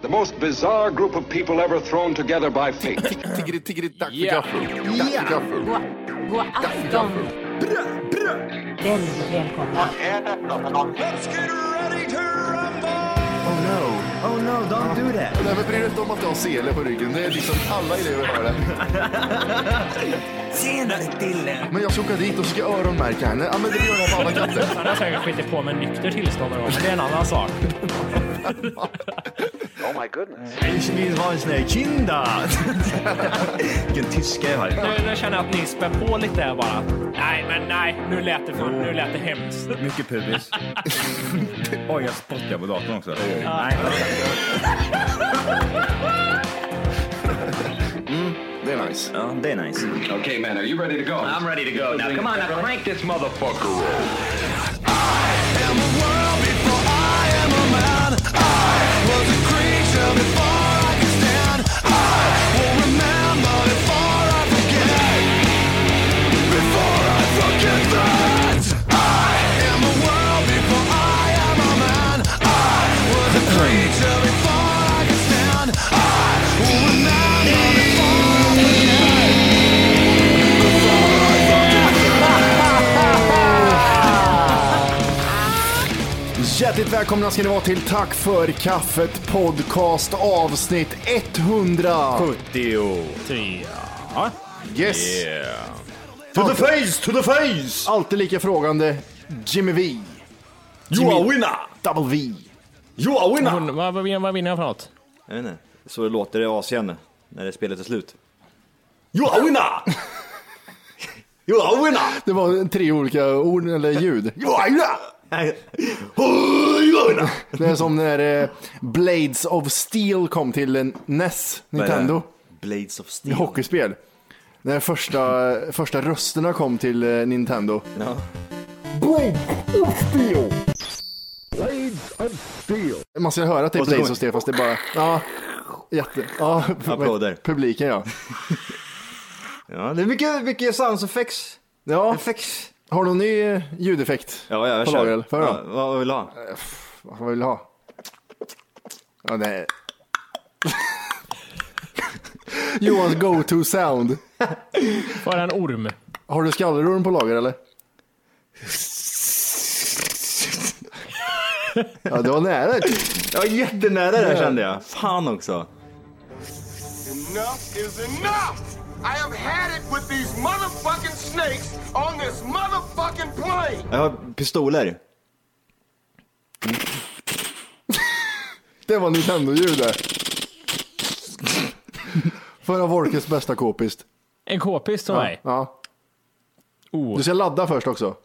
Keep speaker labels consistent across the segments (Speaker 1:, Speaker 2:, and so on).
Speaker 1: The most bizarre group of people ever thrown together by fate.
Speaker 2: Tiggeri, tiggeri, dack för
Speaker 3: Ja.
Speaker 2: gaffel. Dack för gaffel.
Speaker 4: God, god afton. Väldigt välkomna.
Speaker 2: Oh no.
Speaker 5: Oh no, don't do that.
Speaker 2: Nej, men bryr dig inte om att du har sele på ryggen. Det är liksom alla elever har det.
Speaker 5: Senare Dille.
Speaker 2: Men jag ska åka dit och ska öronmärka henne. Ja, men det gör jag på alla katter.
Speaker 3: Han har säkert skitit på med nykter tillstånd någon gång, men det är en annan sak.
Speaker 5: Ich vill ha en sån här kinda. Vilken tyska jag har.
Speaker 3: Nu, nu känner jag att ni spär på lite här bara. Nej, men nej, nu lät det, för, nu lät det hemskt.
Speaker 6: Mycket pubis. Oj, jag spottar på datorn också. Nej.
Speaker 2: Det är nice.
Speaker 6: Ja, det är nice.
Speaker 1: okay, man, are you ready to go?
Speaker 7: I'm ready to go now. Come on, now crank this motherfucker up.
Speaker 2: Hjärtligt välkomna ska ni vara till Tack för kaffet podcast avsnitt 100.
Speaker 6: 73.
Speaker 2: Yes.
Speaker 6: Yeah.
Speaker 2: To the
Speaker 6: face, to the face!
Speaker 2: Alltid lika frågande Jimmy V.
Speaker 6: You are winner!
Speaker 2: Double V.
Speaker 6: You are winner!
Speaker 3: Hon, vad, vad, vinner- vad vinner jag för något?
Speaker 8: Jag vet inte. Så det låter i Asien när det spelet är slut.
Speaker 6: You are winner! You are winner!
Speaker 2: Det var tre olika ord eller ljud.
Speaker 6: You are winner! You are winner!
Speaker 2: Det är som när eh, Blades of Steel kom till eh, NES, Nintendo.
Speaker 8: Blades of Steel.
Speaker 2: Det är hockeyspel. När första, första rösterna kom till eh, Nintendo.
Speaker 8: Ja.
Speaker 2: Blades of Steel! Man ska höra att det är
Speaker 8: Och så
Speaker 2: Blades
Speaker 8: kommer-
Speaker 2: of Steel fast det är bara... Ja, jätte... Ja,
Speaker 8: Applåder.
Speaker 2: Publiken ja.
Speaker 8: ja, det är mycket, mycket sounds effects.
Speaker 2: Ja,
Speaker 8: Effects.
Speaker 2: har du någon ny eh, ljudeffekt?
Speaker 8: Ja, ja, jag
Speaker 2: På
Speaker 8: kör.
Speaker 2: lager, för då?
Speaker 8: ja, vad vill du ha?
Speaker 2: Vad vill du ha? Ja, det är... Johans go-to sound.
Speaker 3: Bara en orm.
Speaker 2: Har du skallerorm på lager eller? Ja, det var nära.
Speaker 8: Jag var jättenära där kände jag. Fan också.
Speaker 9: Enough is enough! I have had it with these motherfucking snakes on this motherfucking plane!
Speaker 8: Jag har pistoler.
Speaker 2: Det var Nintendo-ljud det. Förra Wolkes bästa kopist.
Speaker 3: En k-pist till mig.
Speaker 2: Ja.
Speaker 3: Oh,
Speaker 2: Du ska ladda först också.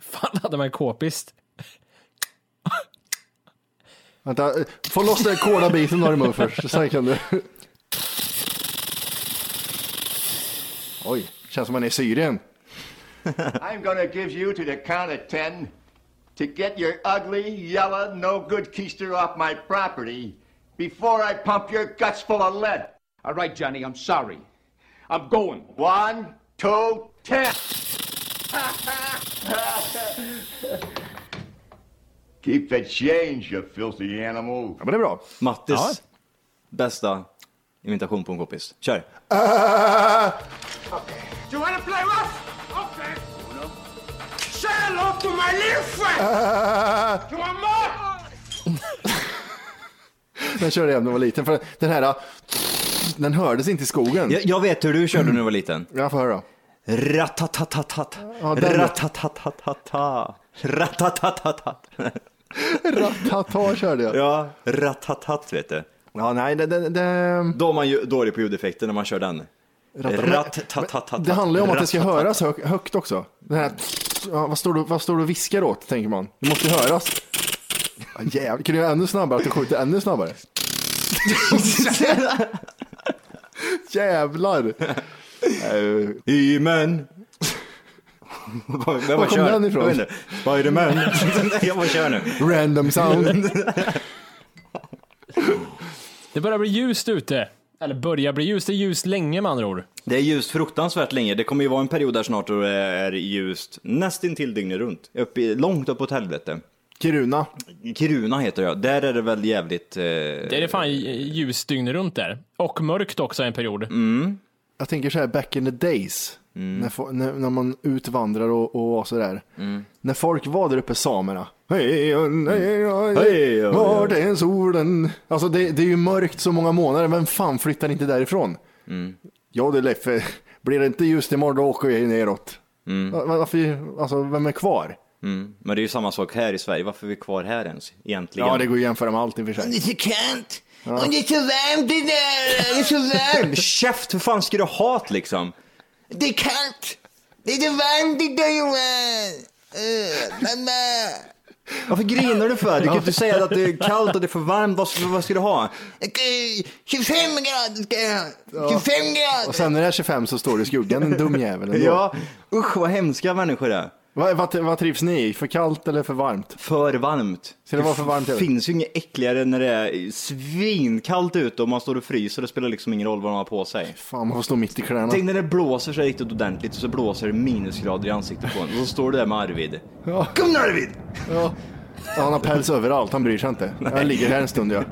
Speaker 3: fan hade man en k-pist?
Speaker 2: Vänta, eh, få loss den kolabiten du har i mun först. Sen kan du. Oj, känns som man är i Syrien.
Speaker 9: I'm gonna give you to the count of ten to get your ugly, yellow, no good keister off my property before I pump your guts full of lead. All right, Johnny, I'm sorry. I'm going. One, two, ten. Keep the change, you filthy animal.
Speaker 2: Ja, men det är bra.
Speaker 8: Mattis
Speaker 3: Ja.
Speaker 8: bästa imitation på en kompis. Kör.
Speaker 2: Ah!
Speaker 9: Do you want to play rough? Okay. Say hello to my little friend. Do you want more?
Speaker 2: Den körde jag när jag var liten. För den här, den hördes inte i skogen.
Speaker 8: Jag, jag vet hur du körde när du var liten.
Speaker 2: Jag får höra.
Speaker 8: Ratatatatat.
Speaker 2: Ja, den-
Speaker 8: Ratatatatata. Ratatatatat.
Speaker 2: Ratata körde jag.
Speaker 8: Ja, ratatat vet du.
Speaker 2: Ja, nej, det... det, det...
Speaker 8: Då är man ju dålig på ljudeffekter när man kör den. Ratatatatat.
Speaker 2: Det handlar ju om att det ska
Speaker 8: Ratatatat.
Speaker 2: höras hög, högt också. Den här, ja, vad, står du, vad står du och viskar åt, tänker man. Det måste ju höras. Ja, Jävlar, kan du göra ännu snabbare? Att du skjuter ännu snabbare? Jävlar!
Speaker 8: Amen. Var
Speaker 2: kom den ifrån?
Speaker 8: Spiderman. jag bara kör nu.
Speaker 2: Random sound.
Speaker 3: Det börjar bli ljust ute. Eller börjar bli ljust, det är ljust länge med andra ord.
Speaker 8: Det är ljust fruktansvärt länge. Det kommer ju vara en period där snart då det är ljust nästintill dygnet runt. Uppe, i- långt uppåt helvete.
Speaker 2: Kiruna.
Speaker 8: Kiruna heter det, ja. Där är det väl jävligt... Eh,
Speaker 3: Det är det fan ljus dygnet runt där. Och mörkt också en period.
Speaker 2: Jag tänker så här back in the days.
Speaker 8: Mm.
Speaker 2: När, fo- när, när man utvandrar och, och var så där.
Speaker 8: Mm.
Speaker 2: När folk var där uppe, samerna. Hej, hej, hej,
Speaker 8: Hej,
Speaker 2: hej,
Speaker 8: ja,
Speaker 2: vart är solen? Alltså det, det är ju mörkt så många månader, men fan flyttar inte därifrån?
Speaker 8: Mm.
Speaker 2: Ja du Leffe, blir det inte ljust imorgon då åker vi neråt. Va- va- Varför, alltså vem är kvar?
Speaker 8: Mm. Men det är ju samma sak här i Sverige. Varför är vi kvar här ens egentligen?
Speaker 2: Ja, det går ju att jämföra med allt i och för sig.
Speaker 8: är så kallt! Och det är så varmt i där! Det är så varmt! Käft! Hur fan ska du ha det liksom? Det är kallt! Det är så varmt i där Johan! Uh, mamma! Varför grinar du för? Du kan ju inte säga att det är kallt och det är för varmt. Vad, ska- vad ska du ha? 25 grader ska jag ha! 25
Speaker 2: Och
Speaker 8: grader!
Speaker 2: sen när det är 25 så står du i skuggan, en dum jävel ändå.
Speaker 8: Ja, usch vad hemska människor det är.
Speaker 2: Vad, vad, vad trivs ni i? För kallt eller för varmt?
Speaker 8: För varmt.
Speaker 2: Ska det vara för varmt, eller?
Speaker 8: finns ju inget äckligare än när det är svinkallt ute och man står och fryser. Det spelar liksom ingen roll vad man har på sig.
Speaker 2: Fan, man får stå mitt i kläderna.
Speaker 8: Tänk när det blåser sig riktigt ordentligt och så blåser det minusgrader i ansiktet på en. Och så står du där med Arvid. Kom nu Arvid!
Speaker 2: Ja, Han har päls överallt, han bryr sig inte. Jag ligger här en stund jag.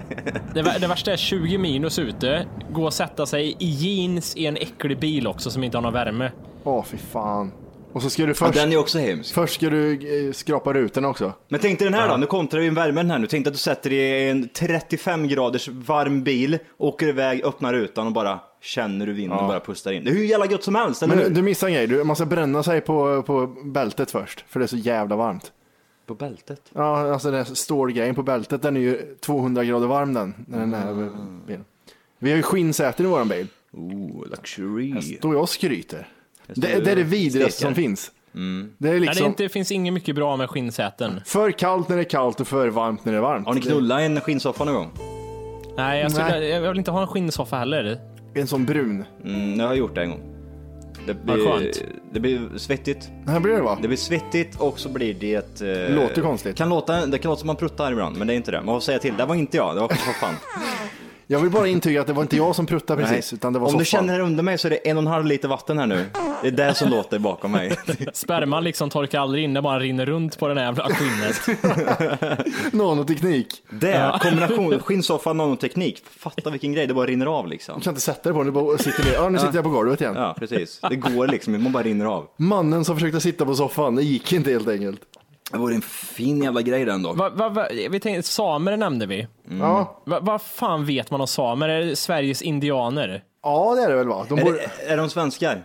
Speaker 3: Det, vär- det värsta är 20 minus ute, gå och sätta sig i jeans i en äcklig bil också som inte har någon värme.
Speaker 2: Åh fy fan. Och så ska du
Speaker 8: Ja,
Speaker 2: först,
Speaker 8: den är också hemsk.
Speaker 2: först ska du eh, skrapa rutorna också.
Speaker 8: Men tänk dig den här då, nu kontrar vi värmen här nu. Tänk dig att du sätter dig i en 35 graders varm bil, åker iväg, öppnar rutan och bara känner du vinden och bara pustar in. Det är hur jävla gött som helst, eller
Speaker 2: Men du,
Speaker 8: hur?
Speaker 2: du missar en grej, du, man ska bränna sig på, på bältet först. För det är så jävla varmt.
Speaker 8: På bältet.
Speaker 2: Ja, alltså den här stålgrejen på bältet, den är ju 200 grader varm den. När den är över bilen. Vi har ju skinnsäten i våran bil.
Speaker 6: Ooh, luxury.
Speaker 2: Då jag skryter.
Speaker 8: står
Speaker 2: Det, det är det
Speaker 8: och
Speaker 2: vidrigaste
Speaker 8: stekar.
Speaker 2: som finns. Det är
Speaker 3: Nej, det, är
Speaker 2: liksom
Speaker 3: inte, det finns inget mycket bra med skinnsäten.
Speaker 2: för kallt när det är kallt och för varmt när det är varmt.
Speaker 8: Har ni knullat i en skinnsoffa någon gång?
Speaker 3: Nej, jag, skulle,
Speaker 2: Nej.
Speaker 3: jag vill inte ha en skinnsoffa heller.
Speaker 2: Det är En sån brun.
Speaker 8: Mm, jag har gjort det en gång. Det blir,
Speaker 3: skönt.
Speaker 8: det blir svettigt.
Speaker 2: Här blir det va?
Speaker 8: Det blir svettigt och så blir det... Eh,
Speaker 2: Låter konstigt.
Speaker 8: Kan låta, det kan låta som man pruttar ibland, men det är inte det. Man får säga till, det var inte jag, det var soffan.
Speaker 2: Jag vill bara intyga att det var inte jag som pruttade precis,
Speaker 8: Nej.
Speaker 2: utan det var
Speaker 8: Om du
Speaker 2: soffan.
Speaker 8: känner här under mig så är det en och en halv liter vatten här nu. Det är det som låter bakom mig.
Speaker 3: Sperman liksom torkar aldrig in, det bara rinner runt på den här jävla skinnet.
Speaker 2: Nanoteknik.
Speaker 8: Det, är kombination, skinnsoffa, nanoteknik. Fatta vilken grej, det bara rinner av liksom.
Speaker 2: Du kan inte sätta dig på den, du bara sitter ner. Ja, nu sitter jag på golvet igen.
Speaker 8: Ja, precis. Det går liksom inte, man bara rinner av.
Speaker 2: Mannen som försökte sitta på soffan, det gick inte helt enkelt.
Speaker 8: Det vore en fin jävla grej den dock.
Speaker 3: va, va, va, vi tänkte, samer nämnde vi.
Speaker 8: Mm.
Speaker 2: Ja.
Speaker 3: Va- Vad fan vet man om samer? Är det Sveriges indianer?
Speaker 2: ja, det är det väl va? De
Speaker 8: Är,
Speaker 2: bor...
Speaker 8: det, är de svenskar?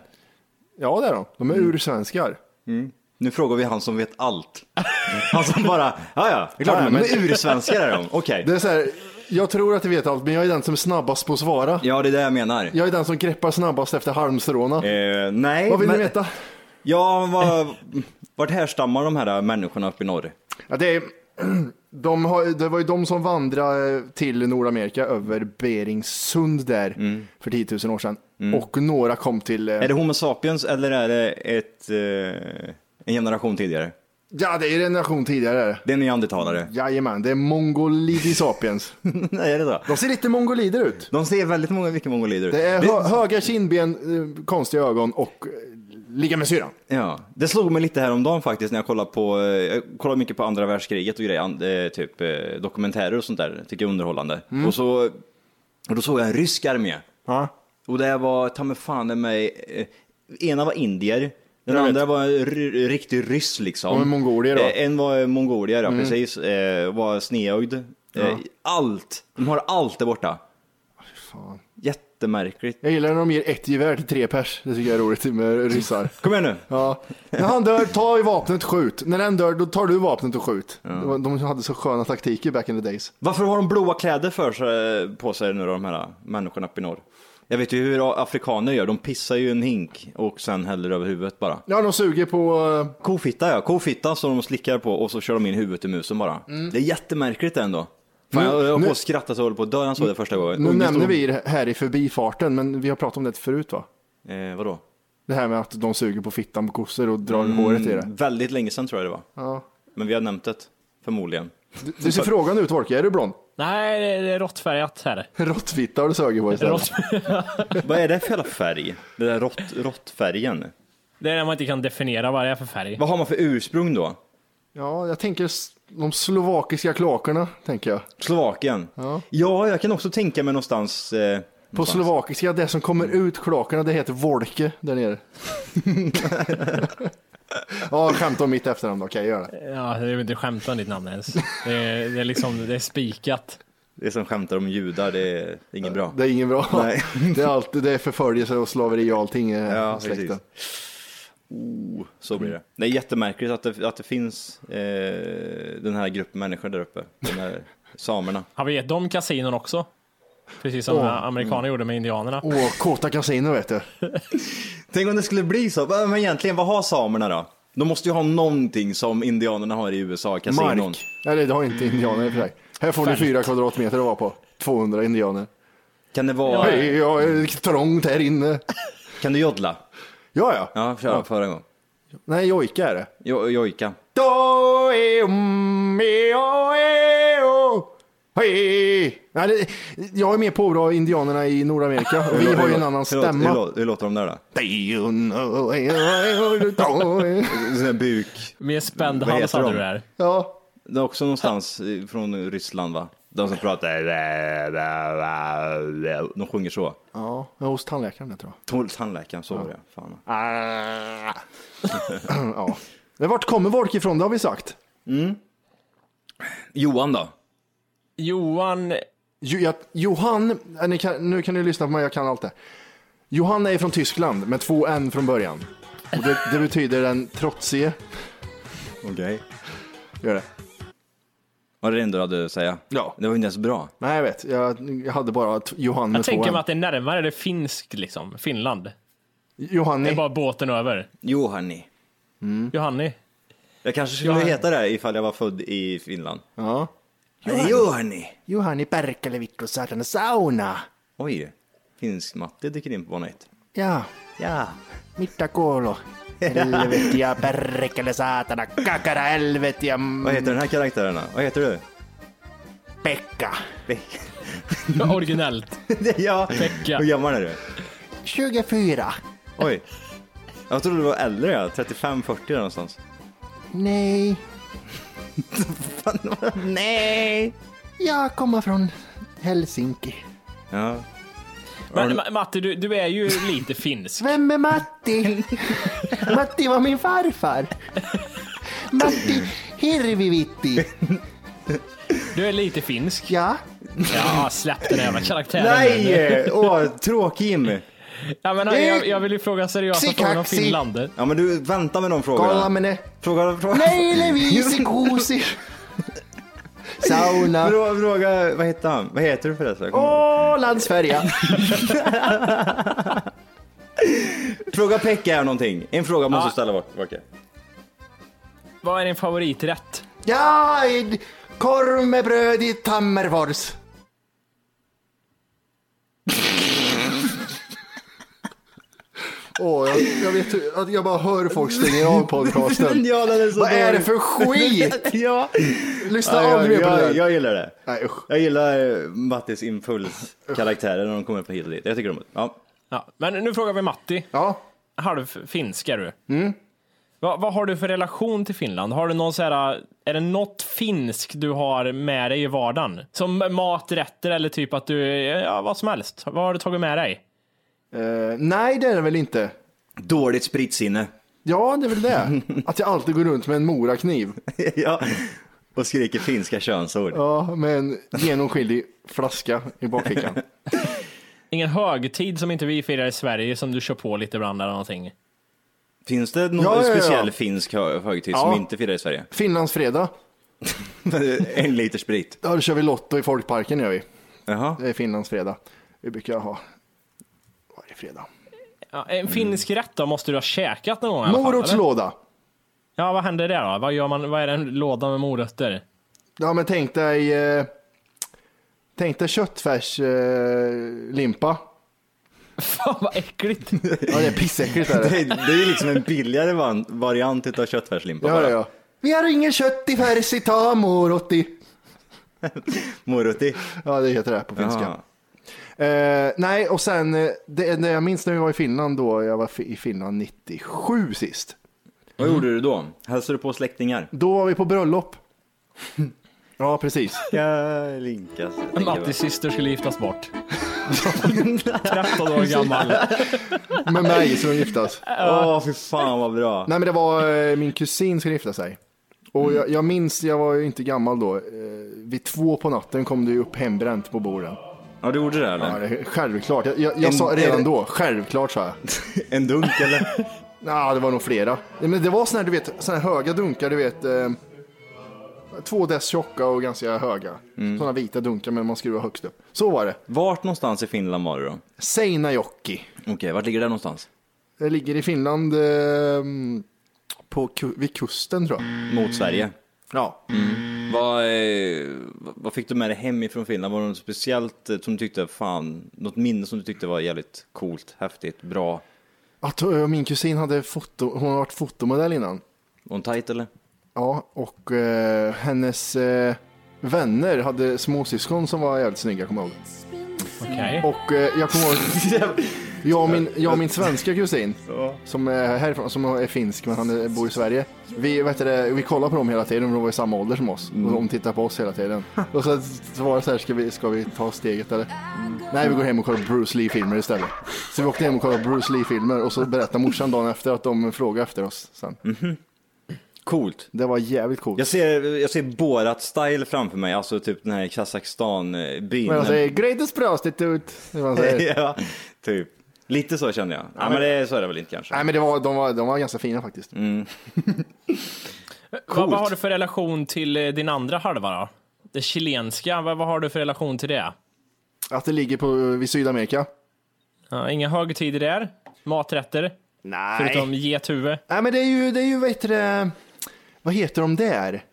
Speaker 2: Ja, det är de. De är ursvenskar.
Speaker 8: Nu frågar vi han som vet allt. Han som bara, ja ja, det är klart
Speaker 2: Nej,
Speaker 8: de är,
Speaker 2: men-
Speaker 8: men ursvenskar är de. Okej.
Speaker 2: Det är så här, jag tror att jag vet allt, men jag är den som är snabbast på att svara.
Speaker 8: Ja, det är det jag menar.
Speaker 2: Jag är den som greppar snabbast efter halmstråna.
Speaker 8: Eh, nej,
Speaker 2: Vad vill
Speaker 8: men-
Speaker 2: ni veta?
Speaker 8: Ja, vad, vart härstammar de här människorna uppe i norr?
Speaker 2: Ja, det, är, de har, det var ju de som vandrade till Nordamerika över Beringssund där för 10 000 år sedan. Och några kom till... eh,
Speaker 8: Mm. Är det Homo sapiens eller är det ett, eh, en generation tidigare?
Speaker 2: Ja, det är en nation tidigare. är det.
Speaker 8: Det är neandertalare.
Speaker 2: Jajamän, det är mongolidi sapiens.
Speaker 8: nej, är det då?
Speaker 2: De ser lite mongolider ut.
Speaker 8: De ser väldigt många, mycket mongolider ut.
Speaker 2: Det är
Speaker 8: Det-
Speaker 2: hö höga kindben, eh, konstiga ögon och eh, ligga med syran.
Speaker 8: Ja, det slog mig lite häromdagen faktiskt när jag kollade på, eh, jag kollar mycket på andra världskriget och grejer, an- eh, typ eh, dokumentärer och sånt där, tycker jag är underhållande.
Speaker 2: Mm.
Speaker 8: Och, så, och då såg jag en rysk armé.
Speaker 2: Ja.
Speaker 8: Och det var ta mig fan i mig, eh, ena var indier, den
Speaker 2: Jag vet.
Speaker 8: andra var en ry- riktig ryss liksom.
Speaker 2: Och en mongolier då. Mm.
Speaker 8: Eh, En var mongolier, ja precis, eh, var sneögd. Eh, allt, de har allt där borta.
Speaker 2: Fan.
Speaker 8: Jättemärkligt.
Speaker 2: Jag gillar när de ger ett gevär till tre pers. Det tycker jag är roligt med ryssar.
Speaker 8: Kom igen nu.
Speaker 2: Ja. När han dör, ta i vapnet och skjut. När den dör, då tar du vapnet och skjut. Det var- De hade så sköna taktiker back in the days.
Speaker 8: Varför har de blåa kläder för sig, på sig nu då, de här människorna uppe i norr? Jag vet ju hur afrikaner gör, de pissar ju i en hink och sen häller över huvudet bara.
Speaker 2: Ja, de suger på... eh,
Speaker 8: Kofitta ja, kofitta som de slickar på och så kör de in huvudet i musen bara. Det är jättemärkligt ändå. Fan,
Speaker 2: Mm. Nu-
Speaker 8: jag höll
Speaker 2: nu-
Speaker 8: på att skratta så jag höll på att dö när jag såg det första gången.
Speaker 2: Nu
Speaker 8: Och
Speaker 2: nämner
Speaker 8: stod-
Speaker 2: vi det här i förbifarten, men vi har pratat om det förut va?
Speaker 8: Eh, vadå?
Speaker 2: Det här med att de suger på fittan på kossor och drar
Speaker 8: Mm.
Speaker 2: håret i det.
Speaker 8: Väldigt länge sedan tror jag det var.
Speaker 2: Ja.
Speaker 8: Men vi har nämnt det, förmodligen.
Speaker 2: Du ser frågan ut Wolke, är du blond?
Speaker 3: Nej, det det är råttfärgat här.
Speaker 2: Råttfitta har du sugit på istället.
Speaker 3: Rått,
Speaker 8: Vad är det för jävla färg? Den där rått- råttfärgen.
Speaker 3: det är när man inte kan definiera vad det är för färg.
Speaker 8: Vad har man för ursprung då?
Speaker 2: Ja, jag tänker s- de slovakiska klakerna, tänker jag.
Speaker 8: Slovakien. Ja. jag kan också tänka mig någonstans. Eh,
Speaker 2: På slovakiska, det som kommer ut klakerna, det heter volke där nere. ja, skämt om mitt efternamn, okej, gör det.
Speaker 3: Ja, det är väl inte skämt om ditt namn ens. Det är, det är liksom, det är spikat.
Speaker 8: Det som skämtar om judar, det är inget bra.
Speaker 2: Det är ingen bra.
Speaker 8: Nej.
Speaker 2: Det är, alltid, det är förföljelse och slaveri och allting i
Speaker 8: Ja,
Speaker 2: släkten.
Speaker 8: Oh, så blir det. Det är jättemärkligt att det, att det finns eh, den här gruppen människor där uppe. Den här samerna.
Speaker 3: Har vi gett dem kasinon också? Precis som
Speaker 2: Åh.
Speaker 3: amerikanerna gjorde med indianerna.
Speaker 2: Åh, Kåta kasino vet du.
Speaker 8: Tänk om det skulle bli så. Men egentligen, vad har samerna då? De måste ju ha någonting som indianerna har i USA, kasinon.
Speaker 2: Mark. Nej, det har inte indianer i och för sig. Här får ni
Speaker 3: Fält.
Speaker 2: fyra kvadratmeter att vara på. 200 indianer.
Speaker 8: Kan det vara...
Speaker 2: Hej, jag är trångt här inne.
Speaker 8: Kan du joddla?
Speaker 2: Ja, ja.
Speaker 8: Ja, för, förra gången.
Speaker 2: Nej, jojka är det.
Speaker 8: Jo, jojka.
Speaker 2: Do, e, mm, e, o, e, o. Hej. Nej, det- Jag är mer på bra indianerna i Nordamerika. Vi har ju en annan
Speaker 8: Hur, låter- hur,
Speaker 2: stämma.
Speaker 8: lå- hur låter de där då? Sån här buk.
Speaker 3: Med spänd
Speaker 8: Vad
Speaker 3: hals
Speaker 8: heter
Speaker 3: hade
Speaker 8: de?
Speaker 3: du där.
Speaker 2: Ja,
Speaker 8: Det är också någonstans eh, från Ryssland va? De som pratar... De sjunger så.
Speaker 2: ja, jag var hos tandläkaren jag tror
Speaker 8: Tol- Tandläkaren, så var det. Fan.
Speaker 2: jag. Ja. Men vart kommer folk ifrån? Det har vi sagt.
Speaker 8: Johan då?
Speaker 3: Johan,
Speaker 2: Jo, jag, Johan, äh, ni kan, nu kan ni lyssna på mig, jag kan allt det. Johan är från Tyskland med två N från början. Och det, det betyder den trotsige.
Speaker 8: Okej.
Speaker 2: Gör det.
Speaker 8: Var det det enda du hade att säga?
Speaker 2: Ja.
Speaker 8: Det var inte ens bra.
Speaker 2: Nej, jag vet. Jag, jag hade bara t- Johan med
Speaker 3: jag
Speaker 2: två
Speaker 3: tänker
Speaker 2: N.
Speaker 3: mig att det är närmare det är finskt liksom. Finland. Det
Speaker 2: Johanni.
Speaker 3: är bara båten över.
Speaker 8: Jo, hörni.
Speaker 3: Johanni.
Speaker 8: Jag kanske skulle
Speaker 3: Ja.
Speaker 8: heta det här ifall jag var född i Finland.
Speaker 2: Ja.
Speaker 8: Jo, hörni.
Speaker 2: Johanni Perkelevittu satana sauna.
Speaker 8: Oj, finsk-matte dyker in på bana ett.
Speaker 2: Ja,
Speaker 8: Ja.
Speaker 2: mitta kolo. Helvete ja perkele satana kakara helvete ja mm.
Speaker 8: Vad heter den här karaktären då? Vad heter du?
Speaker 2: Pekka.
Speaker 3: Originellt.
Speaker 8: ja.
Speaker 3: Pekka.
Speaker 8: Hur gammal är du?
Speaker 2: 24.
Speaker 8: Oj. Jag trodde du var äldre, ja. 35-40 där någonstans.
Speaker 2: Nej,
Speaker 8: Nej!
Speaker 2: jag kommer från Helsinki.
Speaker 8: Ja.
Speaker 3: Men, Ma- Matti, du, du är ju lite finsk.
Speaker 2: Vem är Matti? Matti var min farfar. Matti Hirvivitti.
Speaker 3: Du är lite finsk.
Speaker 2: Ja.
Speaker 3: Ja, släpp den jävla karaktären. nu.
Speaker 8: Nej! Åh, tråkig Jimmy.
Speaker 3: Ja, men, jag, jag vill ju fråga seriösa
Speaker 2: Kaxi,
Speaker 3: frågor om
Speaker 2: kaxi.
Speaker 3: Finland.
Speaker 8: Ja, men du, vänta med de frågorna.
Speaker 2: Kolla med det.
Speaker 8: Fråga, fråga.
Speaker 2: Nej, Levisi Kusi. Sauna.
Speaker 8: Fråga, fråga, vad heter han? Vad heter du förresten? Oh.
Speaker 2: Ålandsfärja.
Speaker 8: Fråga Pekka här någonting. En fråga måste du ställa bort. Okej.
Speaker 3: Vad är din favoriträtt?
Speaker 2: Ja, i- korv med bröd i Tammerfors. Åh, jag, jag vet hur- att jag bara hör folk stänga av podcasten.
Speaker 8: Ja, den är så
Speaker 2: Vad är det
Speaker 8: dålig.
Speaker 2: för skit?
Speaker 8: ja.
Speaker 2: Lyssna
Speaker 8: Ja,
Speaker 2: aldrig
Speaker 8: jag,
Speaker 2: mer på det
Speaker 8: jag,
Speaker 2: där.
Speaker 8: jag gillar det.
Speaker 2: Nej, usch.
Speaker 8: Jag gillar eh, Mattis impulskaraktärer när de kommer på hit och dit. Jag tycker de ja.
Speaker 3: Ja, men nu frågar vi Matti.
Speaker 2: Ja,
Speaker 3: halvfinsk är du. Va, vad har du för relation till Finland? Har du någon så här, är det något finsk du har med dig i vardagen? Som maträtter eller typ att du, ja vad som helst. Vad har du tagit med dig?
Speaker 2: eh, nej det är det väl inte.
Speaker 8: Dåligt spritsinne.
Speaker 2: Ja, det är väl det. Att jag alltid går runt med en morakniv.
Speaker 8: ja. Och skriker finska könsord.
Speaker 2: Ja, med en genomskinlig flaska i bakfickan.
Speaker 3: Ingen högtid som inte vi firar i Sverige som du kör på lite ibland eller någonting.
Speaker 8: Finns det någon
Speaker 2: Ja, ja, ja.
Speaker 8: speciell finsk hö- högtid
Speaker 2: Ja.
Speaker 8: som inte firar i Sverige?
Speaker 2: Finlandsfredag.
Speaker 8: en liter sprit.
Speaker 2: Ja, då kör vi Lotto i folkparken gör vi.
Speaker 8: Jaha.
Speaker 2: Det är Finlandsfredag. Vi brukar ha varje fredag.
Speaker 3: Ja, en finsk
Speaker 2: Mm.
Speaker 3: rätt då måste du ha käkat någon gång i alla fall, eller?
Speaker 2: Morotslåda.
Speaker 3: Ja, vad händer där då? Vad gör man? Vad är det en låda med morötter?
Speaker 2: Ja, men tänk dig, eh, tänk dig köttfärslimpa. Eh, limpa.
Speaker 3: Fan vad äckligt!
Speaker 2: ja, det är pissäckligt. Är
Speaker 8: Det
Speaker 2: det.
Speaker 8: är, det är ju liksom en billigare van- variant utav köttfärslimpa
Speaker 2: Ja,
Speaker 8: bara.
Speaker 2: ja, ja. Vi har ingen kött i färs, i ta morot i.
Speaker 8: Moroti.
Speaker 2: Ja, det heter det på finska.
Speaker 8: Jaha.
Speaker 2: Eh, nej, och sen eh, det, det jag minns när vi var i Finland då, jag var fi- i Finland 97 sist.
Speaker 8: Vad gjorde du då? Hälsade du på släktingar?
Speaker 2: Då var vi på bröllop. Ja, precis.
Speaker 8: Ska linkas. jag tänker
Speaker 3: Mattis syster skulle giftas bort. 13 år gammal.
Speaker 2: Med mig som giftas.
Speaker 8: bara. Åh, fy fan vad bra.
Speaker 2: Nej men det var eh, min kusin skulle gifta sig. Och jag, jag minns, jag var ju inte gammal då. Eh, vid två på natten kom det ju upp hembränt på borden.
Speaker 8: Ja, du gjorde det
Speaker 2: Ja,
Speaker 8: eller?
Speaker 2: det, självklart. Jag, jag, jag sa redan då, självklart sa jag.
Speaker 8: En dunk eller?
Speaker 2: Ja, det var nog flera. Nej, Men det var såna här, du vet, såna här höga dunkar, du vet. Eh, två dess tjocka och ganska höga. Såna vita dunkar, men man skruvar högst upp. Så var det.
Speaker 8: Vart någonstans i Finland var du då?
Speaker 2: Seinäjoki.
Speaker 8: Okej, vart ligger det någonstans?
Speaker 2: Det ligger i Finland eh, på, ku- vid kusten tror jag.
Speaker 8: Mot Sverige?
Speaker 2: Ja.
Speaker 8: Vad, eh, vad fick du med dig hemifrån Finland? Var det något speciellt eh, som du tyckte, fan, något minne som du tyckte var jävligt coolt, häftigt, bra?
Speaker 2: Att eh, min kusin hade foto, hon har varit fotomodell innan.
Speaker 8: On tight eller?
Speaker 2: Ja, och eh, hennes eh, vänner hade småsyskon som var jävligt snygga, kommer jag ihåg.
Speaker 3: Okej.
Speaker 2: Och eh, jag kommer ihåg, jag och min, jag och min svenska kusin, som är härifrån, som är finsk men han eh, bor i Sverige. Vi, vet du, det, vi kollar på dem hela tiden, de var i samma ålder som oss. Och de tittar på oss hela tiden. Och så, så var det så här, ska vi, ska vi ta steget eller? Nej, vi går hem och kollar på Bruce Lee-filmer istället. Så vi åkte hem och kollade på Bruce Lee-filmer och så berättade morsan dagen efter att de frågade efter oss sen.
Speaker 8: Coolt.
Speaker 2: Det var jävligt coolt.
Speaker 8: Jag ser, jag ser Borat-style framför mig, alltså typ den här Kazakstan-byn.
Speaker 2: Men han säger greatest prostitute. Det var så här.
Speaker 8: ja, typ. Lite så kände jag. Ja, men, det, så är det väl inte kanske.
Speaker 2: Nej men det var, de, var, de var ganska fina faktiskt.
Speaker 3: Vad, vad har du för relation till eh, din andra halva då? Det chilenska, vad, vad har du för relation till det?
Speaker 2: Att det ligger på, vid Sydamerika.
Speaker 3: Ja, inga högtider där? Maträtter?
Speaker 2: Nej.
Speaker 3: Förutom gethuvud?
Speaker 2: Nej men det är ju, det är ju vad heter det, vad heter de där?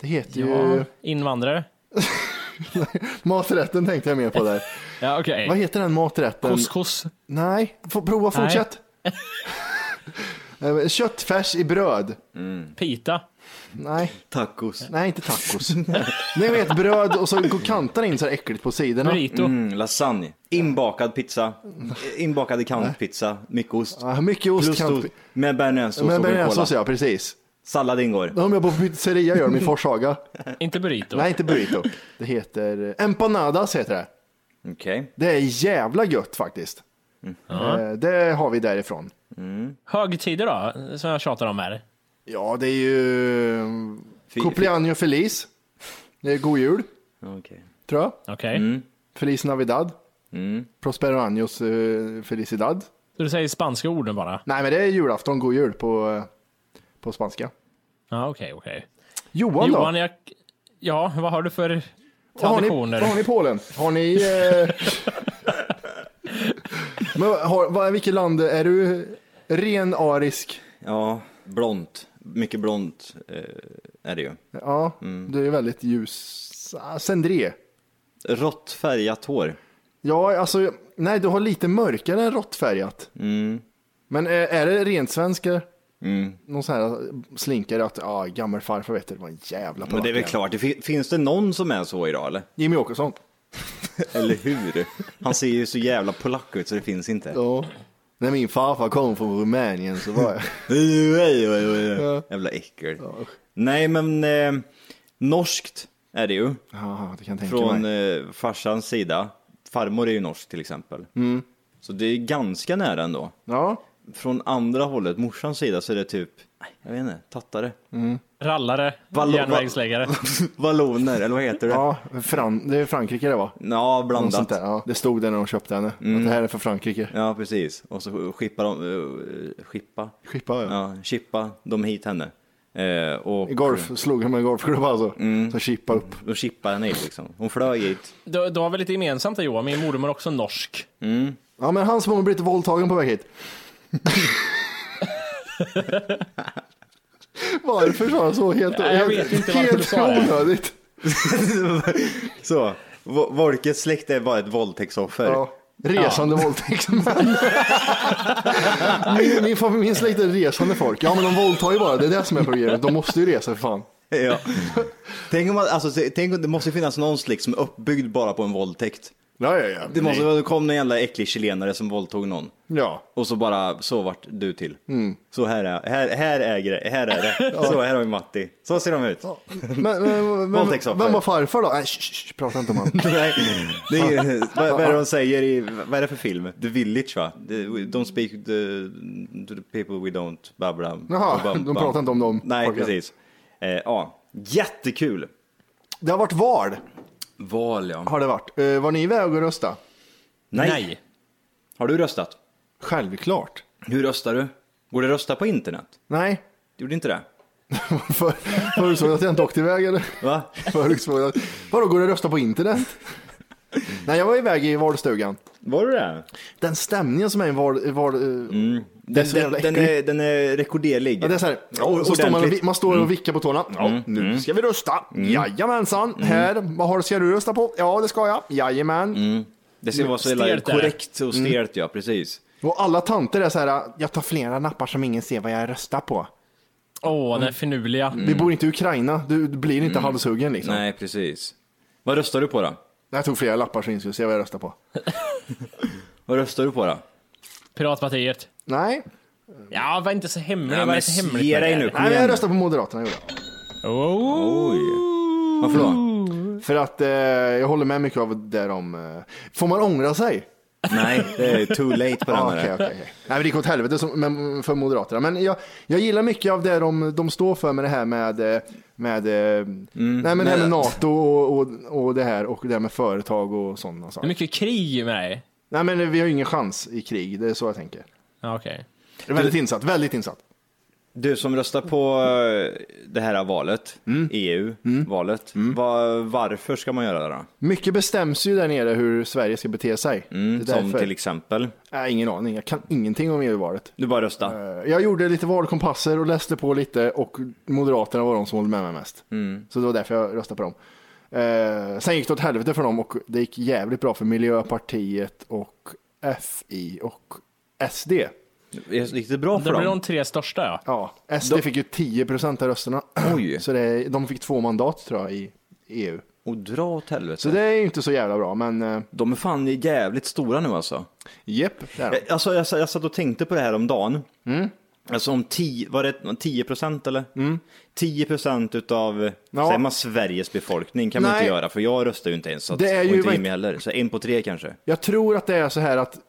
Speaker 2: Det heter ju,
Speaker 3: Ja, invandrare?
Speaker 2: maträtten tänkte jag mer på där.
Speaker 3: Ja, okej.
Speaker 2: Vad heter den maträtten?
Speaker 3: Couscous?
Speaker 2: Nej, få prova, fortsätt. Eh, Köttfärs i bröd.
Speaker 3: Pita?
Speaker 2: Nej,
Speaker 8: Tacos.
Speaker 2: nej inte tacos. nej men ett bröd och så går kanterna in så här äckligt på sidorna.
Speaker 3: Burrito?
Speaker 8: Mm, lasagne. Inbakad pizza. Inbakad i kantpizza. Mycket ost.
Speaker 2: Ja, mycket ost,
Speaker 8: Plus
Speaker 2: kant-
Speaker 8: ost. Med bearnaisesås
Speaker 2: Men
Speaker 8: och
Speaker 2: bearnaisesås
Speaker 8: cola.
Speaker 2: ja, precis.
Speaker 8: Sallad ingår.
Speaker 2: De jag bor på pizzeria gör de i Forshaga.
Speaker 3: Inte burrito?
Speaker 2: Nej, inte burrito. Det heter eh, empanadas heter det.
Speaker 8: Okej.
Speaker 2: Det är jävla gött faktiskt.
Speaker 3: Mm.
Speaker 2: Eh, Det har vi därifrån.
Speaker 3: Högtider då, som jag tjatar om här?
Speaker 2: Ja, det är ju eh,
Speaker 8: Fy-
Speaker 2: Cumpleaños Feliz. Det är God Jul,
Speaker 8: Okej.
Speaker 2: tror jag.
Speaker 3: Okej.
Speaker 2: Mm. Feliz Navidad.
Speaker 8: Mm.
Speaker 2: Prospero Años eh, Felicidad.
Speaker 3: Så Du säger spanska orden bara?
Speaker 2: Nej, men det är julafton, God Jul på, eh, på spanska.
Speaker 3: Ja, okej, okej.
Speaker 2: Johan,
Speaker 3: Johan,
Speaker 2: då?
Speaker 3: jag... Ja, vad har du för
Speaker 2: Vad har ni,
Speaker 3: traditioner?
Speaker 2: vad har ni i Polen? Har ni... Eh... men har, vad, vilket land är du? Ren arisk?
Speaker 8: Ja, blont. Mycket blont eh, är det ju.
Speaker 2: Ja,
Speaker 3: Mm.
Speaker 2: du är väldigt ljus. Ah, Cendré.
Speaker 8: Rått färgat hår.
Speaker 2: Ja, alltså, nej, du har lite mörkare än råttfärgat.
Speaker 8: Mm.
Speaker 2: Men är, är det rent svenska? Någon sån här eh, slinkare att, ja, gammelfarfar vet du, det var en jävla
Speaker 8: Men det är väl
Speaker 2: polack.
Speaker 8: klart, det fin- finns det någon som är så idag eller?
Speaker 2: Jimmy Åkesson.
Speaker 8: Eller hur? Han ser ju så jävla polack ut så det finns inte.
Speaker 2: Ja. När min farfar kom från Rumänien så var jag...
Speaker 8: Jävla äckel. Nej men, eh, norskt är det ju.
Speaker 2: Ja, det kan jag tänka
Speaker 8: Från
Speaker 2: mig.
Speaker 8: eh, farsans sida. Farmor är ju norsk till exempel.
Speaker 2: Mm.
Speaker 8: Så det är ganska nära ändå.
Speaker 2: Ja,
Speaker 8: Från andra hållet, morsans sida, så är det typ, nej, jag vet inte, tattare.
Speaker 3: Rallare?
Speaker 8: Vallon-
Speaker 3: järnvägsläggare?
Speaker 8: Valloner, eller vad heter det? Ja,
Speaker 2: ja Fran... det är Frankrike det var. Något sånt
Speaker 8: blandat.
Speaker 2: där. Ja, det stod där när de köpte henne. Att det här är för Frankrike.
Speaker 8: Mm. Ja, precis. Och så skippar de, eh, skippa?
Speaker 2: Skippa, ja.
Speaker 8: Ja, chippa de hit henne. Eh, och
Speaker 2: I golf slog de med en golfklubba alltså.
Speaker 8: Mm.
Speaker 2: Så chippa upp.
Speaker 8: De chippade henne hit liksom. Hon flög hit.
Speaker 3: Du, du har väl lite gemensamt där Johan, min mormor är också norsk.
Speaker 2: Ja, men hans mormor blev lite våldtagen på väg hit. Varför sa han så? Helt,
Speaker 3: Ja, jag vet inte varför du
Speaker 2: helt
Speaker 3: sa det.
Speaker 2: onödigt.
Speaker 8: så, Vo- Volkes släkt är bara ett våldtäktsoffer.
Speaker 2: Ja. Resande våldtäktsmän. min, min, fam- min släkt är resande folk. Ja, men de våldtar ju bara. Det är det som är problemet. De måste ju resa för fan.
Speaker 8: Ja. Tänk om, man, alltså, t- tänk om det måste finnas någon släkt som är uppbyggd bara på en våldtäkt.
Speaker 2: Ja, ja, ja.
Speaker 8: Det måste vara, det kom en jävla äcklig chilenare som våldtog någon.
Speaker 2: Ja.
Speaker 8: Och så bara, så vart du till. Så här är, här, här äger det, här är det. Så här har vi Matti. Så ser de ut.
Speaker 2: Men, men, men
Speaker 8: Våldtäktsoffer.
Speaker 2: vem var farfar då? Nej, sh, sh, sh, prata inte om honom.
Speaker 8: Nej, det är, ju- vad, vad är det de säger i, vad är det för film? The Village va? The, we don't speak the, to the people we don't babbla.
Speaker 2: Jaha, de pratar inte om dem.
Speaker 8: Nej,
Speaker 2: Folken.
Speaker 8: precis. Eh, ja, jättekul.
Speaker 2: Det har varit val,
Speaker 8: Val ja.
Speaker 2: har det varit. Eh, Var ni iväg och rösta?
Speaker 8: Nej.
Speaker 3: Nej.
Speaker 8: Har du röstat?
Speaker 2: Självklart.
Speaker 8: Hur röstar du? Går det att rösta på internet?
Speaker 2: Nej.
Speaker 8: Du gjorde inte det?
Speaker 2: För- Förut såg jag att jag inte åkte iväg eller?
Speaker 8: Va?
Speaker 2: Förut såg jag att, vadå går det att rösta på internet? Nej, jag var iväg i valstugan.
Speaker 8: Var du det?
Speaker 2: Den stämningen som är i val... i val mm. Det är
Speaker 8: Den,
Speaker 2: så
Speaker 8: den,
Speaker 2: jävla
Speaker 8: den,
Speaker 2: äcklig.
Speaker 8: är, den är rekorderlig.
Speaker 2: Ja, det är så här,
Speaker 8: Ja,
Speaker 2: och så står man, och, vi-
Speaker 8: ordentligt.
Speaker 2: man står och vickar på tårna. Ja, nu ska vi rösta. Jajamensan. Här, vad har, ska du rösta på? Ja, det ska jag. Jajamän.
Speaker 8: Det ska vara så jävla
Speaker 3: Stelt är det.
Speaker 8: korrekt och stelt
Speaker 2: Mm.
Speaker 8: ja, precis.
Speaker 2: Och alla tanter är så här, jag tar flera nappar som ingen ser vad jag röstar på. Mm.
Speaker 3: Åh, den är finurliga.
Speaker 2: Vi bor inte i Ukraina, du, du blir inte halshuggen liksom.
Speaker 8: Nej, precis. Vad röstar du på då?
Speaker 2: Jag tog flera lappar så ingen skulle se vad jag röstar på.
Speaker 8: Vad röstar du på då?
Speaker 3: Piratpartiet.
Speaker 2: Nej,
Speaker 3: Ja, var inte så hemlig.
Speaker 8: Ja,
Speaker 3: var
Speaker 8: men
Speaker 3: inte hemligt
Speaker 8: ge
Speaker 3: med
Speaker 8: dig
Speaker 3: det.
Speaker 8: nu, kom
Speaker 2: Nej men jag
Speaker 8: igen.
Speaker 2: röstar på Moderaterna gjorde jag.
Speaker 3: Oh.
Speaker 8: Oj. Varför då?
Speaker 2: För att eh, jag håller med mycket av det de... Eh, får man ångra sig?
Speaker 8: Nej, det är too late på den
Speaker 2: Ja,
Speaker 8: här.
Speaker 2: Okej, okej. okej. Nej, men det gick åt helvete som, men, mm, för Moderaterna. Men jag, jag gillar mycket av det de, de står för med det här med, eh, med, eh,
Speaker 8: Mm.
Speaker 2: nej, men det här med NATO och, och, och det här och det här med företag och sådana
Speaker 3: Det är
Speaker 2: saker.
Speaker 3: mycket krig med dig.
Speaker 2: Nej, men vi har ju ingen chans i krig. Det är så jag tänker.
Speaker 3: Ja, okej.
Speaker 2: Jag är Väldigt insatt, väldigt insatt.
Speaker 8: Du som röstar på eh, det här valet,
Speaker 2: Mm.
Speaker 8: EU-valet, va- varför ska man göra det då?
Speaker 2: Mycket bestäms ju där nere hur Sverige ska bete sig.
Speaker 8: Mm,
Speaker 2: det är
Speaker 8: som
Speaker 2: därför.
Speaker 8: till exempel,
Speaker 2: Nej, ingen aning. Jag kan ingenting om EU-valet.
Speaker 8: du bara rösta.
Speaker 2: Eh, Jag gjorde lite valkompasser och läste på lite och Moderaterna var de som höll med mig mest. Så det var därför jag röstade på dem. Eh, sen gick det åt helvete för dem och det gick jävligt bra för Miljöpartiet och FI och SD.
Speaker 8: Gick det bra
Speaker 3: Det
Speaker 8: för
Speaker 3: blir
Speaker 8: dem?
Speaker 3: de tre största ja.
Speaker 2: Ja, SD fick ju 10 procent av rösterna.
Speaker 8: Oj,
Speaker 2: Så det, de fick två mandat tror jag i EU.
Speaker 8: och dra åt
Speaker 2: Så
Speaker 8: helvete.
Speaker 2: det är ju inte så jävla bra, men eh,
Speaker 8: De är fan jävligt stora nu alltså.
Speaker 2: jepp. Där.
Speaker 8: Jag- Alltså jag, sa- jag satt och tänkte på det här om dagen.
Speaker 2: Mm.
Speaker 8: Alltså om 10, var det 10 procent eller? 10 procent utav, eh,
Speaker 2: Ja.
Speaker 8: säger man Sveriges befolkning kan man
Speaker 2: Nej.
Speaker 8: inte göra för jag röstar ju inte ens. Så att,
Speaker 2: Det är
Speaker 8: och
Speaker 2: ju
Speaker 8: inte
Speaker 2: vet-
Speaker 8: Jimmy heller, så en på tre kanske.
Speaker 2: Jag tror att det är så här att, eh,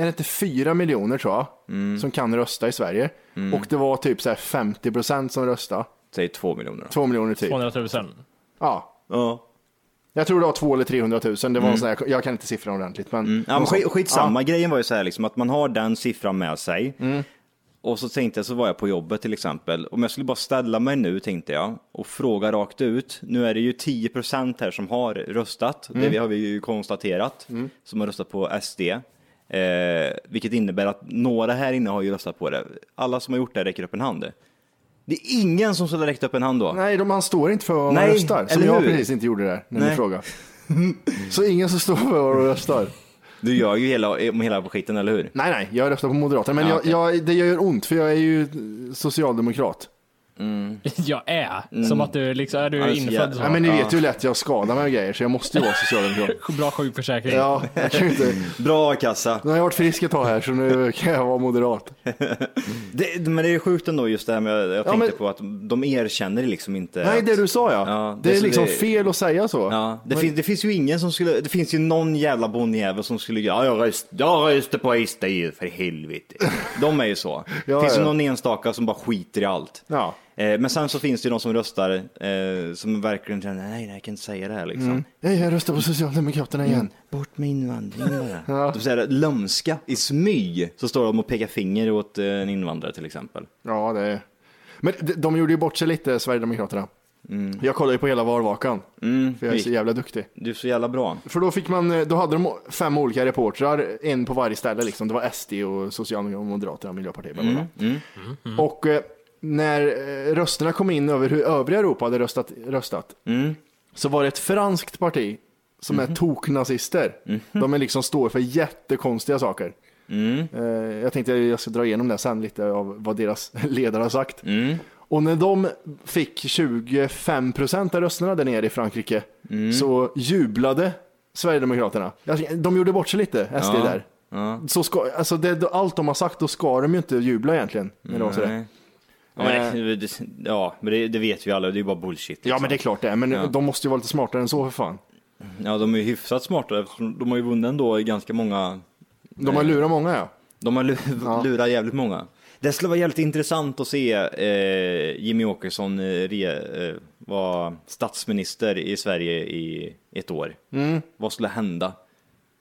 Speaker 2: är det inte fyra miljoner tror jag,
Speaker 8: Mm.
Speaker 2: som kan rösta i Sverige? Och det var typ så här 50 procent som röstade.
Speaker 8: Säg två miljoner då.
Speaker 2: Två miljoner typ.
Speaker 3: 200 000.
Speaker 2: Ja.
Speaker 8: Ja.
Speaker 2: Jag tror det var två eller 300 000. Det var en sån här, jag kan inte siffran ordentligt. Men,
Speaker 8: Mm. Ja, Mm. men skit, skitsamma, grejen var ju så här liksom, att man har den siffran med sig. Och så tänkte jag, så var jag på jobbet till exempel, om jag skulle bara ställa mig nu tänkte jag och fråga rakt ut. Nu är det ju 10% här som har röstat, det vi- har vi ju konstaterat, som har röstat på SD. Eh, vilket innebär att några här inne har ju röstat på det. Alla som har gjort det räcker upp en hand. Det är ingen som skulle ha räckt upp en hand då.
Speaker 2: Nej, de, han står inte för vad man
Speaker 8: Nej,
Speaker 2: röstar. Som
Speaker 8: eller
Speaker 2: jag
Speaker 8: hur?
Speaker 2: precis inte gjorde där, när ni
Speaker 8: Nej.
Speaker 2: frågade. Så ingen som står för vad de röstar.
Speaker 8: Du gör ju hela, om hela skiten, eller hur?
Speaker 2: Nej, nej, jag röstar på Moderaterna. Men
Speaker 8: Ja,
Speaker 2: jag,
Speaker 8: okej.
Speaker 2: jag, det gör ont, för jag är ju socialdemokrat.
Speaker 3: Jag är.
Speaker 2: Mm.
Speaker 3: Som att du liksom, är du
Speaker 8: Ja, det är så
Speaker 3: infödd
Speaker 8: jävla-
Speaker 3: så?
Speaker 2: Nej, men ni vet ju hur lätt jag skadar mig och grejer, så jag måste ju vara socialdemokrat.
Speaker 3: Bra sjukförsäkring.
Speaker 2: Ja, jag kan ju inte.
Speaker 8: Bra a-kassa!
Speaker 2: Nu har jag varit frisk ett tag här, så nu kan jag vara moderat.
Speaker 8: Det, men det är sjukt ändå just det här med, jag
Speaker 2: Ja,
Speaker 8: tänkte
Speaker 2: men-
Speaker 8: på att de erkänner liksom inte.
Speaker 2: Nej,
Speaker 8: att,
Speaker 2: det du sa ja.
Speaker 8: Ja,
Speaker 2: det,
Speaker 8: det
Speaker 2: är
Speaker 8: som
Speaker 2: liksom
Speaker 8: det-
Speaker 2: fel att säga så.
Speaker 8: Ja, det, finns, det finns ju ingen som skulle, det finns ju någon jävla bonnjävel som skulle, ja jag röstar jag röstar på SD ju för helvete. De är ju så.
Speaker 2: Ja,
Speaker 8: det finns
Speaker 2: ja.
Speaker 8: ju någon enstaka som bara skiter i allt.
Speaker 2: Ja.
Speaker 8: Eh, men sen så finns det ju de som röstar eh, som verkligen känner, nej, nej jag kan inte säga det här liksom.
Speaker 2: Nej, jag röstar på Socialdemokraterna
Speaker 8: Mm.
Speaker 2: igen.
Speaker 8: Bort med invandringen bara. De säger lömska i smyg så står de och pekar finger åt eh, en invandrare till exempel.
Speaker 2: Ja, det är... Men de- de gjorde ju bort sig lite, Sverigedemokraterna.
Speaker 8: Mm.
Speaker 2: Jag kollade ju på hela valvakan, Mm, för jag är så jävla duktig.
Speaker 8: Du är så jävla bra.
Speaker 2: För då, fick man, eh, då hade de fem olika reportrar, en på varje ställe. Liksom. Det var SD, och Socialdemokraterna, Moderaterna, Miljöpartiet. bla, bla, bla. Och eh, när eh, rösterna kom in över hur övriga Europa hade röstat, röstat så var det ett franskt parti som är toknazister. De är liksom står för jättekonstiga saker. Eh, Jag tänkte jag ska dra igenom det sen lite av vad deras ledare har sagt. Och när de
Speaker 8: Mm.
Speaker 2: fick 25 procent av rösterna där nere i Frankrike så jublade Sverigedemokraterna. Jag- De gjorde bort sig lite, SD där. Så ska, alltså det, allt de har sagt, då ska de ju inte jubla egentligen. När det var sådär.
Speaker 8: Nej. Ja, men, det, ja, men det, det vet vi alla, det är ju bara bullshit.
Speaker 2: Eh. Ja, men det är klart det är, men
Speaker 8: Ja.
Speaker 2: de måste ju vara lite smartare än så för fan.
Speaker 8: Ja, de är ju hyfsat smarta eftersom de har ju vunnit ändå i ganska många
Speaker 2: De har lurat många ja.
Speaker 8: De har lu- lurat jävligt många. Det skulle vara jävligt intressant att se eh, Jimmy Åkesson eh, re, eh, vara statsminister i Sverige i ett år.
Speaker 2: Mm.
Speaker 8: Vad skulle hända?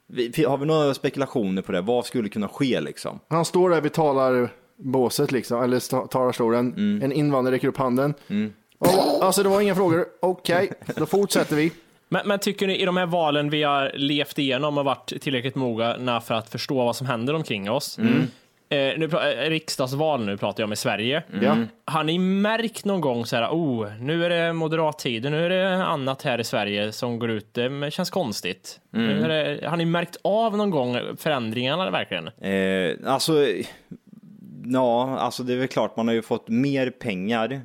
Speaker 8: Vi, har vi några spekulationer på det? Vad skulle kunna ske liksom?
Speaker 2: Han står där vid talarbåset, liksom, eller sta- talarstolen.
Speaker 8: Mm.
Speaker 2: En invandrare räcker upp handen. Och, alltså det var inga frågor. Okej, då fortsätter vi.
Speaker 3: Men, men tycker ni i de här valen vi har levt igenom och varit tillräckligt mogna för att förstå vad som händer omkring oss? Eh, nu, pra- eh, riksdagsval nu pratar jag om i Sverige.
Speaker 2: Ja.
Speaker 8: Mm.
Speaker 3: Har ni märkt någon gång så här, oh, nu är det moderattider, nu är det annat här i Sverige som går ut, det men känns konstigt. Nu är det, har ni märkt av någon gång förändringarna verkligen?
Speaker 8: Eh, alltså, ja, alltså det är väl klart man har ju fått mer pengar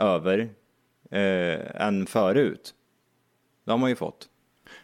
Speaker 8: över eh, än förut. Det har man ju fått.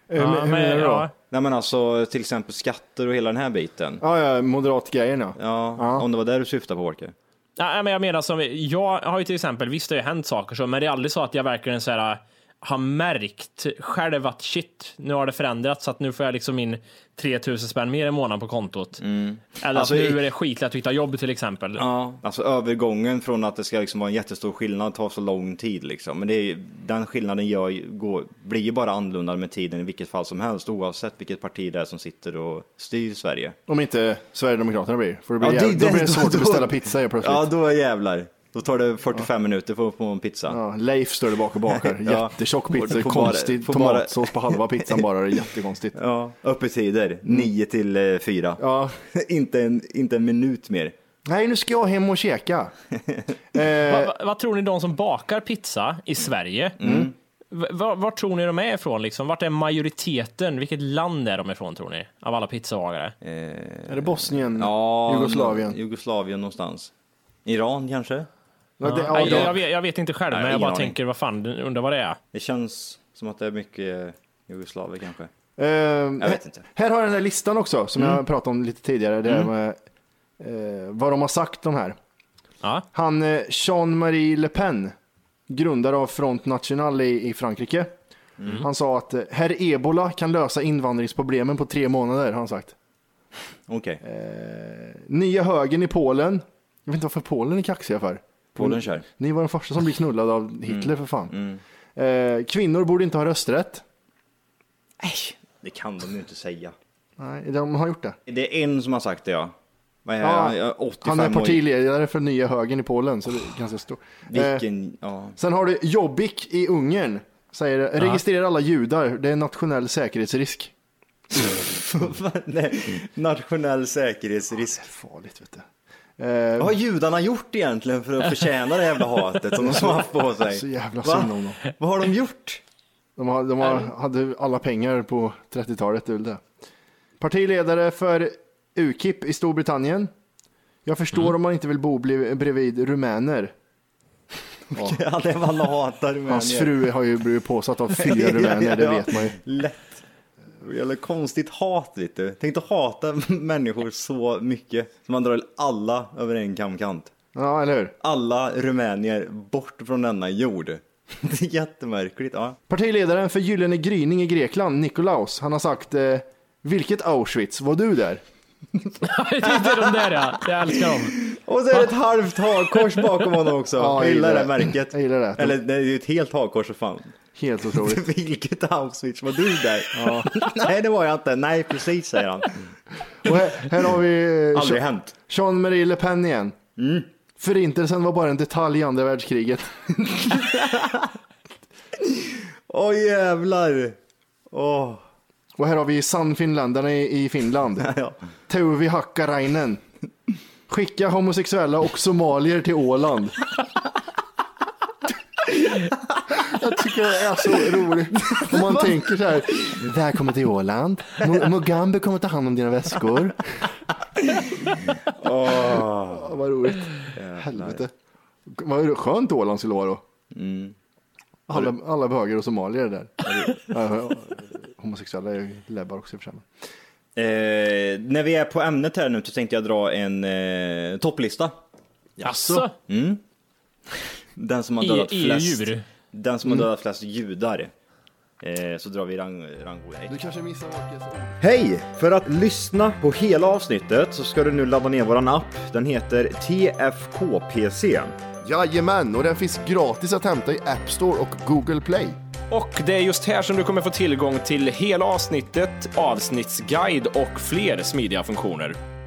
Speaker 2: Hur, hur menar du då?
Speaker 3: ja,
Speaker 2: Ja,
Speaker 8: Nej men alltså till exempel skatter och hela den här biten.
Speaker 2: ja, moderatgrejerna.
Speaker 8: Ja,
Speaker 2: Ja.
Speaker 8: om det var där du syftade på Walker.
Speaker 3: Nej, men jag menar som, jag har ju till exempel, visst det har ju hänt saker så, men det är aldrig så att jag verkligen så här, äh, har märkt själv att shit, nu har det förändrats, så att nu får jag liksom in 3000 spänn mer i månaden på kontot. Eller
Speaker 8: Alltså,
Speaker 3: att nu
Speaker 8: i-
Speaker 3: är det skitlätt att hitta jobb till exempel.
Speaker 8: Ja. Alltså övergången från att det ska liksom vara en jättestor skillnad tar så lång tid liksom. Men det är, den skillnaden gör, ju- går, blir ju bara annorlunda med tiden i vilket fall som helst oavsett vilket parti det är som sitter och styr Sverige.
Speaker 2: Om inte Sverigedemokraterna blir. För det blir, jävligt- då blir det svårt att beställa pizza helt plötsligt.
Speaker 8: Ja,
Speaker 2: Ja,
Speaker 8: då jävlar. Då tar det 45 minuter för att få en pizza.
Speaker 2: Leif står där bak och bakar.
Speaker 8: Ja.
Speaker 2: Jättetjock
Speaker 8: Får
Speaker 2: pizza,
Speaker 8: bara-
Speaker 2: konstig
Speaker 8: får bara-
Speaker 2: tomatsås på halva pizzan bara. Det är jättekonstigt.
Speaker 8: Ja, öppettider 9 till eh, 4.
Speaker 2: Ja.
Speaker 8: inte, en, inte en minut mer.
Speaker 2: Nej, nu ska jag hem och käka. Eh,
Speaker 3: Va, va, vad tror ni de som bakar pizza i Sverige,
Speaker 8: Mm.
Speaker 3: va, va, var tror ni de är ifrån? Liksom? Vart är majoriteten? Vilket land är de ifrån tror ni? Av alla pizzabagare?
Speaker 2: Är det Bosnien?
Speaker 8: Ja,
Speaker 2: Jugoslavien?
Speaker 8: Jugoslavien någonstans. Iran kanske?
Speaker 2: Ja, det,
Speaker 3: Nej,
Speaker 2: ja,
Speaker 3: jag,
Speaker 2: det-
Speaker 3: jag, vet, jag vet inte själv,
Speaker 8: Nej,
Speaker 3: men jag
Speaker 8: ingen
Speaker 3: bara
Speaker 8: aning.
Speaker 3: tänker, vad fan, undrar vad det är.
Speaker 8: Det känns som att det är mycket eh, jugoslaver kanske.
Speaker 2: jag
Speaker 8: vet inte.
Speaker 2: Ehm, Här har jag den där listan också som jag pratade om lite tidigare. Det är med, eh, vad de har sagt de här.
Speaker 3: Ja.
Speaker 2: Han eh, Jean-Marie Le Pen, grundare av Front National i, i Frankrike. Han sa att eh, herr Ebola kan lösa invandringsproblemen på tre månader. Har han sagt.
Speaker 8: Okej,
Speaker 2: Nya högern i Polen. Jag vet inte varför Polen är kaxiga för.
Speaker 8: Polen kör.
Speaker 2: Ni var de första som blev knullade av Hitler för fan. Eh, kvinnor borde inte ha rösträtt.
Speaker 8: Det kan de ju inte säga.
Speaker 2: Nej, de har gjort det.
Speaker 8: Det är en som har sagt det ja. Vad är
Speaker 2: Ja,
Speaker 8: han? Ja, 85
Speaker 2: Han är
Speaker 8: år.
Speaker 2: partiledare för nya högern i Polen, så det är ganska stort. Eh,
Speaker 8: Vilken, ja.
Speaker 2: sen har du Jobbik i Ungern. Säger, registrera alla judar, det är en nationell säkerhetsrisk.
Speaker 8: Nej, Nationell säkerhetsrisk.
Speaker 2: Farligt vet du. Eh,
Speaker 8: Vad har judarna gjort egentligen för att förtjäna det jävla hatet som de har haft på sig?
Speaker 2: Så jävla
Speaker 8: Va?
Speaker 2: synd om dem.
Speaker 8: Vad har de gjort?
Speaker 2: De, har, de har, hade alla pengar på 30-talet, det är väl det. Partiledare för UKIP i Storbritannien. Jag förstår
Speaker 8: Mm.
Speaker 2: om man inte vill bo bli- bredvid rumäner.
Speaker 8: Ja, det är vad alla hatar rumäner.
Speaker 2: Hans fru har ju blivit påsatt av fyra rumäner, det vet man ju.
Speaker 8: Lätt. Eller konstigt hat vet du. Tänk att hata människor så mycket. Så man drar alla över en kamkant.
Speaker 2: Ja, eller hur?
Speaker 8: Alla rumänier bort från denna jord. Det är jättemärkligt. Ja.
Speaker 2: Partiledaren för Gyllene gryning i Grekland, Nikolaus, han har sagt eh, Vilket Auschwitz, var du där?
Speaker 3: det är de där ja, jag älskar dem.
Speaker 8: Och så är det ett halvt hakkors bakom honom också.
Speaker 2: Ja,
Speaker 8: jag
Speaker 2: jag
Speaker 8: gillar
Speaker 2: gillar det.
Speaker 8: det märket.
Speaker 2: Jag gillar det.
Speaker 8: Eller nej, det är ju ett helt hakkors för fan.
Speaker 2: Helt otroligt.
Speaker 8: Vilket Auschwitz var du där? nej det var jag inte. Nej precis säger han.
Speaker 2: Och här, här har vi eh,
Speaker 8: Aldrig Mm.
Speaker 2: Jean-
Speaker 8: hänt.
Speaker 2: Jean-Marie Le Pen igen. Förintelsen var bara en detalj i andra världskriget.
Speaker 8: Åh jävlar. Åh.
Speaker 2: Och här har vi Sannfinländarna i, i Finland.
Speaker 8: Ja.
Speaker 2: Teuvi Hakkarainen. Skicka homosexuella och somalier till Åland. Jag tycker det är så roligt. Om man tänker så här. Välkommen till Åland. Mo- Mugambe kommer ta hand om dina väskor. Åh, Vad roligt. Helvete. Vad skönt Åland skulle vara då. Alla, alla böger och somalier där. Ja, Homosexuella är läbbar också i och för sig.
Speaker 8: Eh, när vi är på ämnet här nu så tänkte jag dra en eh, topplista.
Speaker 10: Jaså?
Speaker 8: Den som har
Speaker 10: I-
Speaker 8: dödat
Speaker 10: i
Speaker 8: flest.
Speaker 10: djur.
Speaker 8: Den som har dödat flest judar. Eh, så drar vi rang, rangordning.
Speaker 2: Du kanske missar Marcus.
Speaker 8: Hej! För att lyssna på hela avsnittet så ska du nu ladda ner våran app. Den heter TFKPC.
Speaker 2: Jajamän, och den finns gratis att hämta i App Store och Google Play.
Speaker 3: Och det är just här som du kommer få tillgång till hela avsnittet, avsnittsguide och fler smidiga funktioner.